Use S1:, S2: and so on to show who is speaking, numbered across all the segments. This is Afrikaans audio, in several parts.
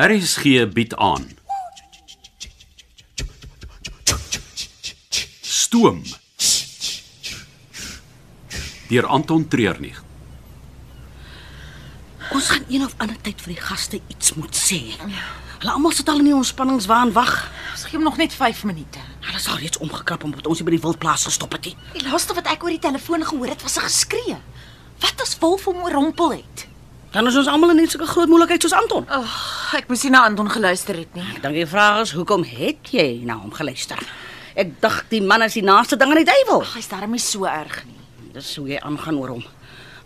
S1: RSG bied aan. Stoom. Deur Anton Treurnig.
S2: Ons gaan een of ander tyd vir die gaste iets moet sê. Hulle almal sit al in die ontspanningswaan wag.
S3: Ons gee hom nog net 5 minute.
S2: Hulle is al reeds omgekrap omdat ons hier by die wildplaas gestop het. nie.
S3: Die laaste wat ek oor die telefoon gehoor het, was 'n geskree. Wat as Wolf hom oorrompel het?
S2: Dan is ons almal in net sulke groot moeilikheid soos Anton.
S3: Ag, ek moes nie na Anton geluister het nie.
S2: Dan die vraag is, hoekom het jy na hom geluister? Ek dink die man is die naaste ding aan die duiwel.
S3: Ag, hy's darem nie so erg nie.
S2: Dis hoe jy aangaan oor hom.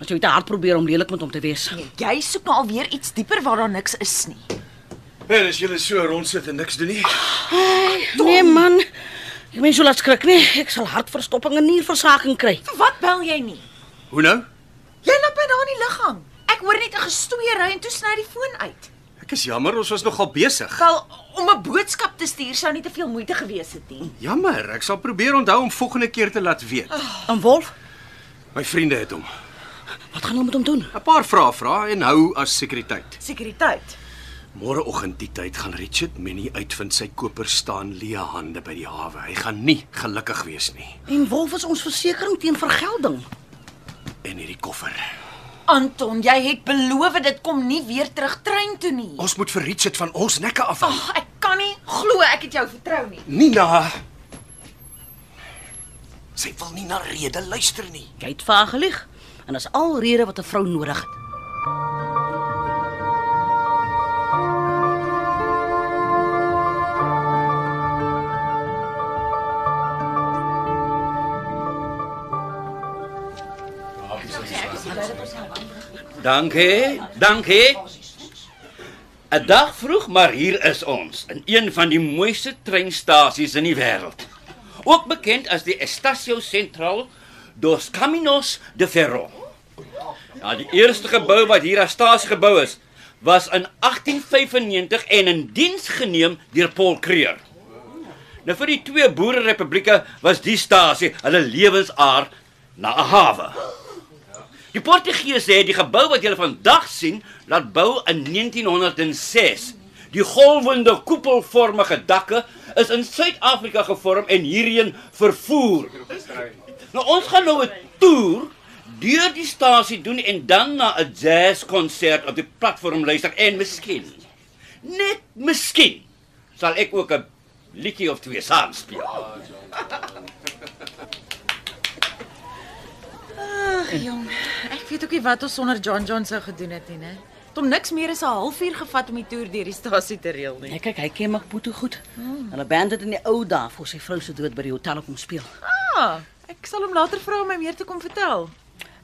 S2: As jy te hard probeer om lelik met hom te wees.
S3: Jy soek nou alweer iets dieper waar daar niks is nie.
S4: Wel, as julle so rondsit en niks doen nie.
S2: Nee man. Ek meen so laat skrik nie. Ek sal hartverstopping en nierversaking kry.
S3: Vir wat bel jy nie?
S4: Hoe nou?
S3: Jy laat my daar in die lug hang. Ek hoor net 'n gestoeiery en toe sny die foon uit.
S4: Ek is jammer, ons was nogal besig.
S3: Wel, om 'n boodskap te stuur sou nie te veel moeite gewees het nie.
S4: Jammer, ek sal probeer onthou om volgende keer te laat weet.
S2: En Wolf,
S4: My vriende het hom.
S2: wat gaan hulle met hom doen?
S4: 'n Paar vrae vra en hou as sekuriteit.
S3: Sekuriteit.
S4: Môreoggend die tyd gaan Richard Minnie uitvind sy koper staan leë hande by die hawe. Hy gaan nie gelukkig wees nie.
S2: En Wolf is ons versekering teen vergelding.
S4: En hierdie koffer.
S3: Anton, jy het beloof dit kom nie weer terug trein toe nie.
S4: Ons moet vir Richard van ons nekke afhou.
S3: Ag, ek kan nie glo ek het jou vertrou nie.
S4: Ah. Nina. Sy wil nie na rede luister nie.
S2: Jy het vaag gelieg en dis al rede wat 'n vrou nodig het.
S5: Dankie, dankie. 'n Dag vroeg, maar hier is ons in een van die mooiste treinstasies in die wêreld. Ook bekend as die Estacio Central dos Caminos de Ferro. Ja, die eerste gebou wat hier as stasie gebou is, was in 1895 en in diens geneem deur Paul Creer. Nou vir die twee boererepublieke was die stasie hulle lewensaar na 'n hawe. Die Portugese het die gebou wat julle vandag sien, laat bou in 1906. Die golwende koepelvormige dakke is in Suid-Afrika gevorm en hierheen vervoer. Nou ons gaan nou 'n toer deur die stasie doen en dan na 'n jazzkonsert op die platform luister en miskien net miskien sal ek ook 'n liedjie of twee saam speel.
S3: Ag jong, ek weet ook nie wat ons sonder John John sou gedoen het nie, né? Het Om niks meer as 'n halfuur gevat om die toer deur die stasie te reël nie.
S2: Ek kyk, hy ken Makputo goed. Hulle band het in die ou dae voor sy vrou se dood by die hotel kom speel.
S3: Ah, ek sal hom later vra om my meer te kom vertel.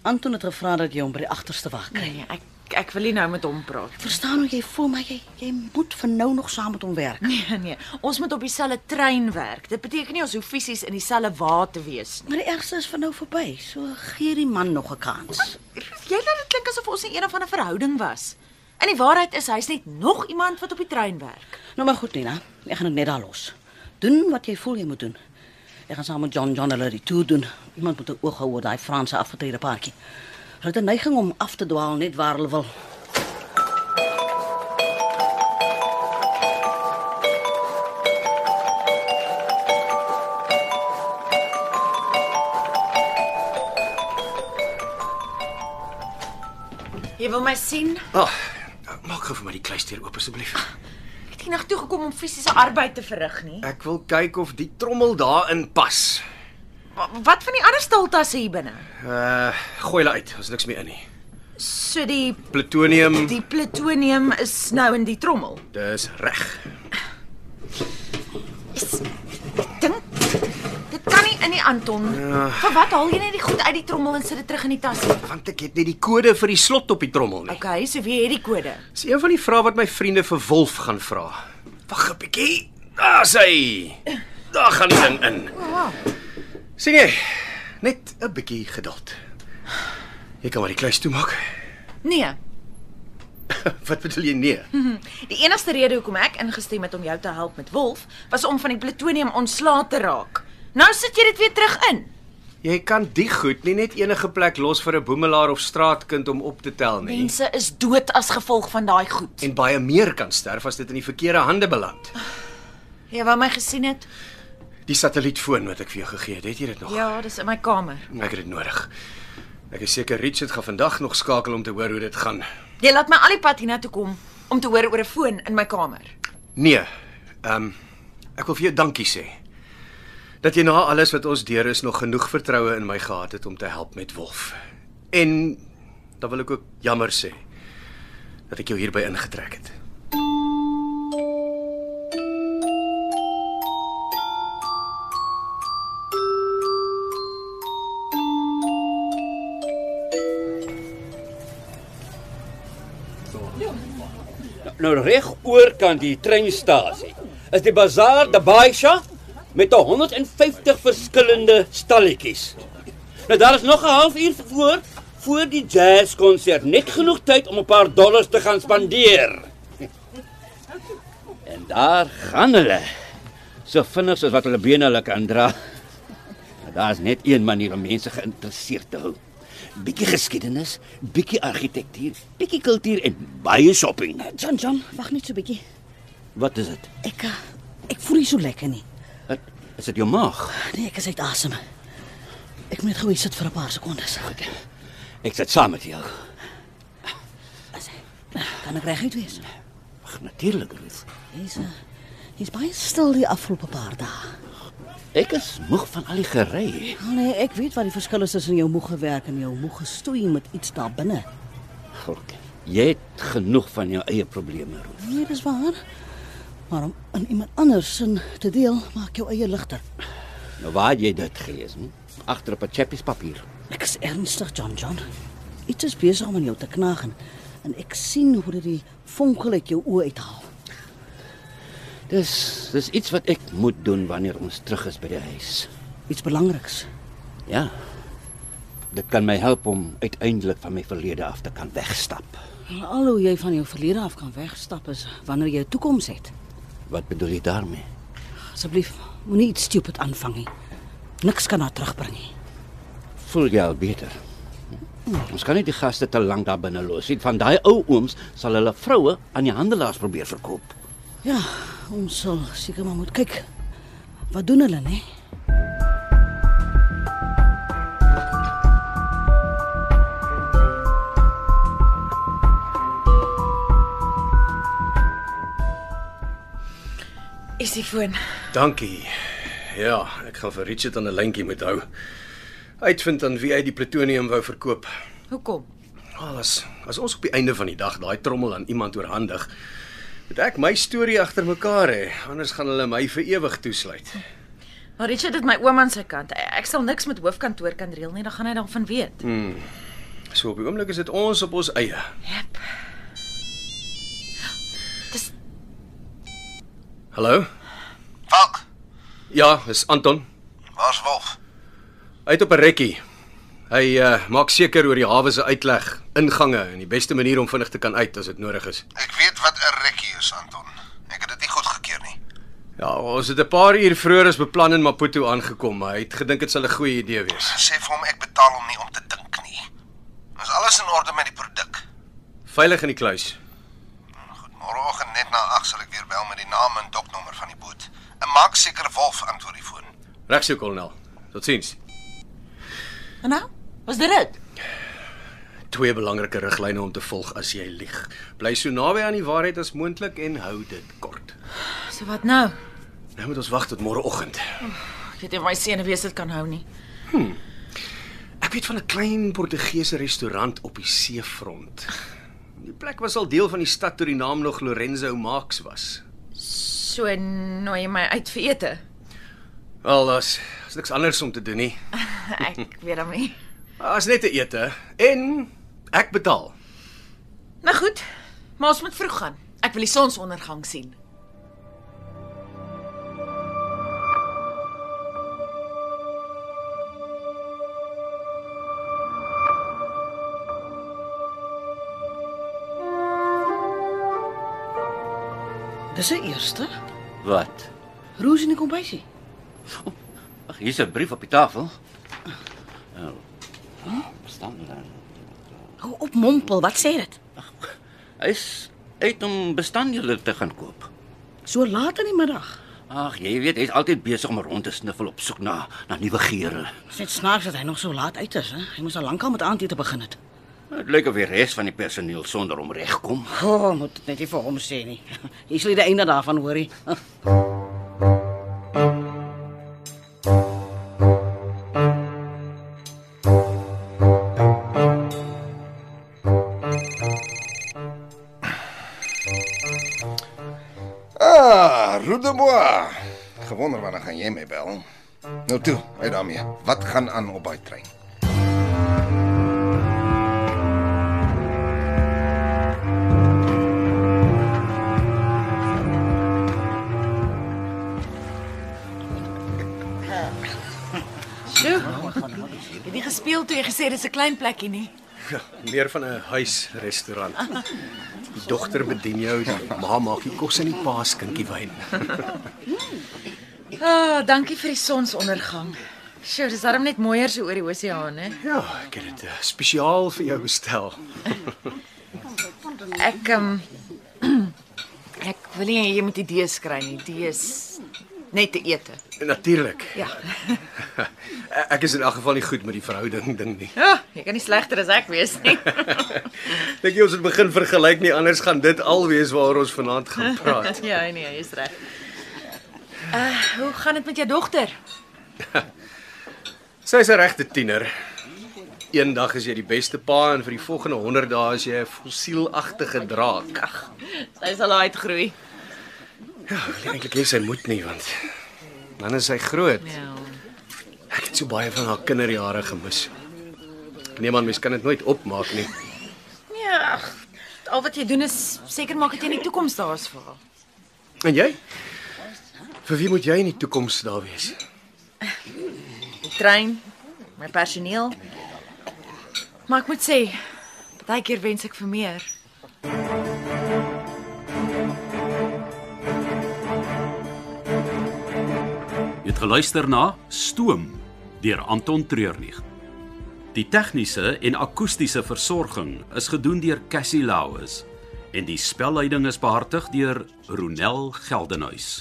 S2: Anton het gevra dat jy hom by die agterste wag kry.
S3: Nee, ek ek wil nie nou met hom praat.
S2: Ek verstaan hoe jy voel, maar jy jy moet vir nou nog saam met hom werk.
S3: Nee, nee. Ons moet op dieselfde trein werk. Dit beteken nie ons hoef fisies in dieselfde wa te wees nie.
S2: Maar die ergste is vir nou verby. So gee die man nog 'n kans.
S3: Jy laat dit klink asof ons nie een of ander verhouding was. In die waarheid is hy's net nog iemand wat op die trein werk.
S2: Nou maar goed, Nina. Ek gaan dit net daar los. Doen wat jy voel jy moet doen. Ek gaan saam met John John hulle die toer doen. Iemand moet 'n oog hou oor daai Franse afgetrede paartjie. Hulle het 'n neiging om af te dwaal net waar hulle wil.
S3: Jy wil my sien?
S4: Ag, oh, maak gou vir my die kluisdeur oop asseblief.
S3: Ek het hiernag toe gekom om fisiese arbeid te verrig nie.
S4: Ek wil kyk of die trommel daarin pas.
S3: Wa- Wat van die ander stiltasse hier binne?
S4: Uh, gooi hulle uit. Ons niks meer in nie.
S3: So die
S4: Plutonium,
S3: Die plutonium is nou in die trommel.
S4: dis reg.
S3: Dink dit kan nie in die Anton. Vir wat haal jy net die goed uit die trommel en sit dit terug in die tas?
S4: Want ek het net die kode vir die slot op die trommel nie.
S3: Okay, so wie het die kode?
S4: Dis een van die vrae wat my vriende vir Wolf gaan vra. Wag 'n bietjie. Daar's hy. Daar gaan die ding in. sien jy? Net 'n bietjie geduld. Jy kan maar die kluis toemaak.
S3: Nee.
S4: Wat bedoel jy nee?
S3: Die enigste rede hoekom ek ingestem het om jou te help met Wolf was om van die plutonium ontslae te raak. Nou sit jy dit weer terug in.
S4: Jy kan die goed nie net enige plek los vir 'n boemelaar of straatkind om op te tel nie.
S3: Mense is dood as gevolg van daai goed.
S4: En baie meer kan sterf as dit in die verkeerde hande beland.
S3: Jy wou my gesien het?
S4: Die satellietfoon wat ek vir jou gegee het, het jy dit nog? Nou,
S3: Ja, dis in my kamer.
S4: Ek het dit nodig. Ek is seker Richard gaan vandag nog skakel om te hoor hoe dit gaan.
S3: Jy laat my al die pad hiernatoe kom om te hoor oor 'n foon in my kamer.
S4: Nee. Ehm um, ek wil vir jou dankie sê. Dat jy na alles wat ons deur is nog genoeg vertroue in my gehad het om te help met Wolf. En dan wil ek ook jammer sê dat ek jou hierby ingetrek het.
S5: Nou reg oor kan die treinstasie. Is die bazaar die Baisha met 150 verskillende stalletjies. Nou daar is nog 'n halfuur voor voor die jazzkonsert net genoeg tyd om 'n paar dollars te gaan spandeer. En daar gaan hulle. So vinnig soos wat hulle bene hulle kan dra. Maar Daar's net een manier om mense geïnteresseerd te hou. Bietjie geskiedenis, bietjie argitektuur, bietjie kultuur en baie shopping.
S2: John John, wag net so 'n bietjie.
S5: Wat is dit?
S2: Ek eh, ek voel nie so lekker nie.
S5: Wat is dit jou maag?
S2: Nee, ek is uit asem. Ek moet gou hier sit vir 'n paar sekondes.
S5: Ek sit saam met jou.
S2: As- Kan ek reguit wees?
S5: Ag natuurlik, Ruth.
S2: Hy's eh, hy's baie stil die afgelope paar dae.
S5: Ek is moeg van al die gery.
S2: Oh nee, ek weet wat die verskil is tussen jou moeg gewerk en jou moeg gestoei met iets daar binne.
S5: Gok. Jy het genoeg van jou eie probleme, Ruth.
S2: Nee, dis waar. Maar om aan iemand anders sin te deel, maak jou eie ligter.
S5: Nou waar het jy dit gelees, hm? Agter op 'n chappies papier.
S2: Ek is ernstig, John John. Iets is besig om aan jou te knaag en, en ek sien hoe dit die vonkel uit jou oë uithaal.
S5: Dis dis iets wat ek moet doen wanneer ons terug is by die huis.
S2: Iets belangriks.
S5: Ja. Dit kan my help om uiteindelik van my verlede af te kan wegstap.
S2: Al hoe jy van jou verlede af kan wegstap is wanneer jy 'n toekoms het.
S5: Wat bedoel jy daarmee?
S2: Asseblief, moenie iets stupid aanvang nie. Niks kan haar terugbring nie.
S5: Voel jy al beter? Ons kan nie die gaste te lank daar binne los nie. Van daai ou ooms sal hulle vroue aan die handelaars probeer verkoop.
S2: Ja, ons sal seker maar moet kyk. Wat doen hulle, né?
S3: Is die foon?
S4: Dankie. Ja, ek gaan vir Richard aan 'n lyntjie moet hou. Uitvind aan wie hy die plutonium wou verkoop.
S3: Hoekom?
S4: Alles. As ons op die einde van die dag daai trommel aan iemand oorhandig, moet ek my storie agter mekaar hê, anders gaan hulle my vir ewig toesluit.
S3: Maar Richard het my oom aan sy kant. Ek sal niks met hoofkantoor kan reël nie, dan gaan hy daarvan weet.
S4: So op die oomblik is dit ons op ons eie.
S3: Jep. Dis
S4: Hallo?
S6: Pak,
S4: Ja, dis Anton.
S6: waar's Wolf?
S4: Hy het op 'n rekkie. Hy uh, maak seker oor die hawe se uitleg, ingange en die beste manier om vinnig te kan uit as dit nodig is.
S6: Ek weet wat 'n rekkie is, Anton. Ek het dit nie goed gekeer nie.
S4: Ja, ons het 'n paar uur vroeër as beplan in Maputo aangekom, maar hy het gedink dit sal 'n goeie idee wees.
S6: Sê vir hom ek betaal hom nie om te dink nie. Is alles in orde met die produk?
S4: Veilig in die kluis.
S6: Goed, môreoggend net na 8 sal ek weer bel met die naam en doknommer van die boot. En maak seker Wolf antwoord die foon.
S4: Regs so, kolonel. Totsiens.
S3: En nou? Was dit dit?
S4: Twee belangrike riglyne om te volg as jy lieg. Bly so naby aan die waarheid as moontlik en hou dit kort.
S3: So wat nou?
S4: Nou moet ons wag tot môreoggend.
S3: Ek weet nie of my senuwees dit kan hou nie.
S4: Ek weet van 'n klein Portugese restaurant op die seefront. Die plek was al deel van die stad toe die naam nog Lorenzo Marx was.
S3: So nooi jy my uit vir ete.
S4: Wel, daar's daar's niks anders om te doen nie.
S3: Ek weet hom nie.
S4: Daar's net 'n ete en ek betaal.
S3: Nou goed. Maar ons moet vroeg gaan. Ek wil die sonsondergang sien.
S2: Dis die eerste.
S5: Wat?
S2: Roos in die kombuisie.
S5: Ag, hier's 'n brief op die tafel. Nou. Verstaan jy dan?
S2: Hou op mompel, wat sê dit?
S5: Hy is uit om bestanddele te gaan koop.
S2: So laat in die middag.
S5: Ag, jy weet, hy's altyd besig om rond te sniffel op soek na na nuwe gere.
S2: Is Dit snaaks dat hy nog so laat uit is, hè. Hy moes al lankal met aandete begin het.
S5: Dit lyk of die res van die personeel sonder hom regkom.
S2: O, oh, moet dit net nie vir hom sê nie. Jy sal die einde daarvan hoorie.
S6: Ah, Rudebois. Gewonder wanneer gaan jy my bel? Nou toe, uit daarmee. Wat gaan aan op daai trein?
S3: Sjoe. Het jy gespeel toe jy gesê dis 'n klein plekkie nie?
S4: Ja, meer van 'n huisrestaurant. Die dogter bedien jou, die ma maak die kos en die pa skinkie wyn.
S3: Ah, oh, dankie vir die sonsondergang. Sjoe, dis darem net mooier so oor die oseaan, hè.
S4: Ja, ek het dit eh, spesiaal vir jou bestel.
S3: Ek ehm ek wil nie jy moet idees kry nie. Die is net te ete.
S4: Natuurlik.
S3: Ja.
S4: eh, Ek is in elk geval nie goed met die verhouding ding nie.
S3: Ja, oh, jy kan nie slegter as ek wees nie.
S4: Dink jy ons het begin vergelyk nie anders gaan dit al wees waar ons vanaand gaan praat.
S3: ja, nee, jy's reg. Uh, hoe gaan dit met jou dogter?
S4: Sy's 'n regte tiener. Eendag is jy die beste pa en vir die volgende 100 dae is jy 'n fossielagtige draak. Ag,
S3: Sy sal uitgroei.
S4: wil eintlik hê sy moet nie want dan is sy groot.
S3: Ja.
S4: Ek het so baie van haar kinderjare gemis. Ek neem aan mens kan dit nooit opmaak nie.
S3: Nee, ag, al wat jy doen is seker maak dat jy in die toekoms daar's vir haar.
S4: En jy? Vir wie moet jy in die toekoms daar wees?
S3: Die trein, my personeel. Maar ek moet sê, baie keer wens ek vir meer.
S1: Jy het geluister na Stoom deur Anton Treurnig. Die tegniese en akoestiese versorging is gedoen deur Cassie Lauis en die spelleiding is behartig deur Ronel Geldenhuys.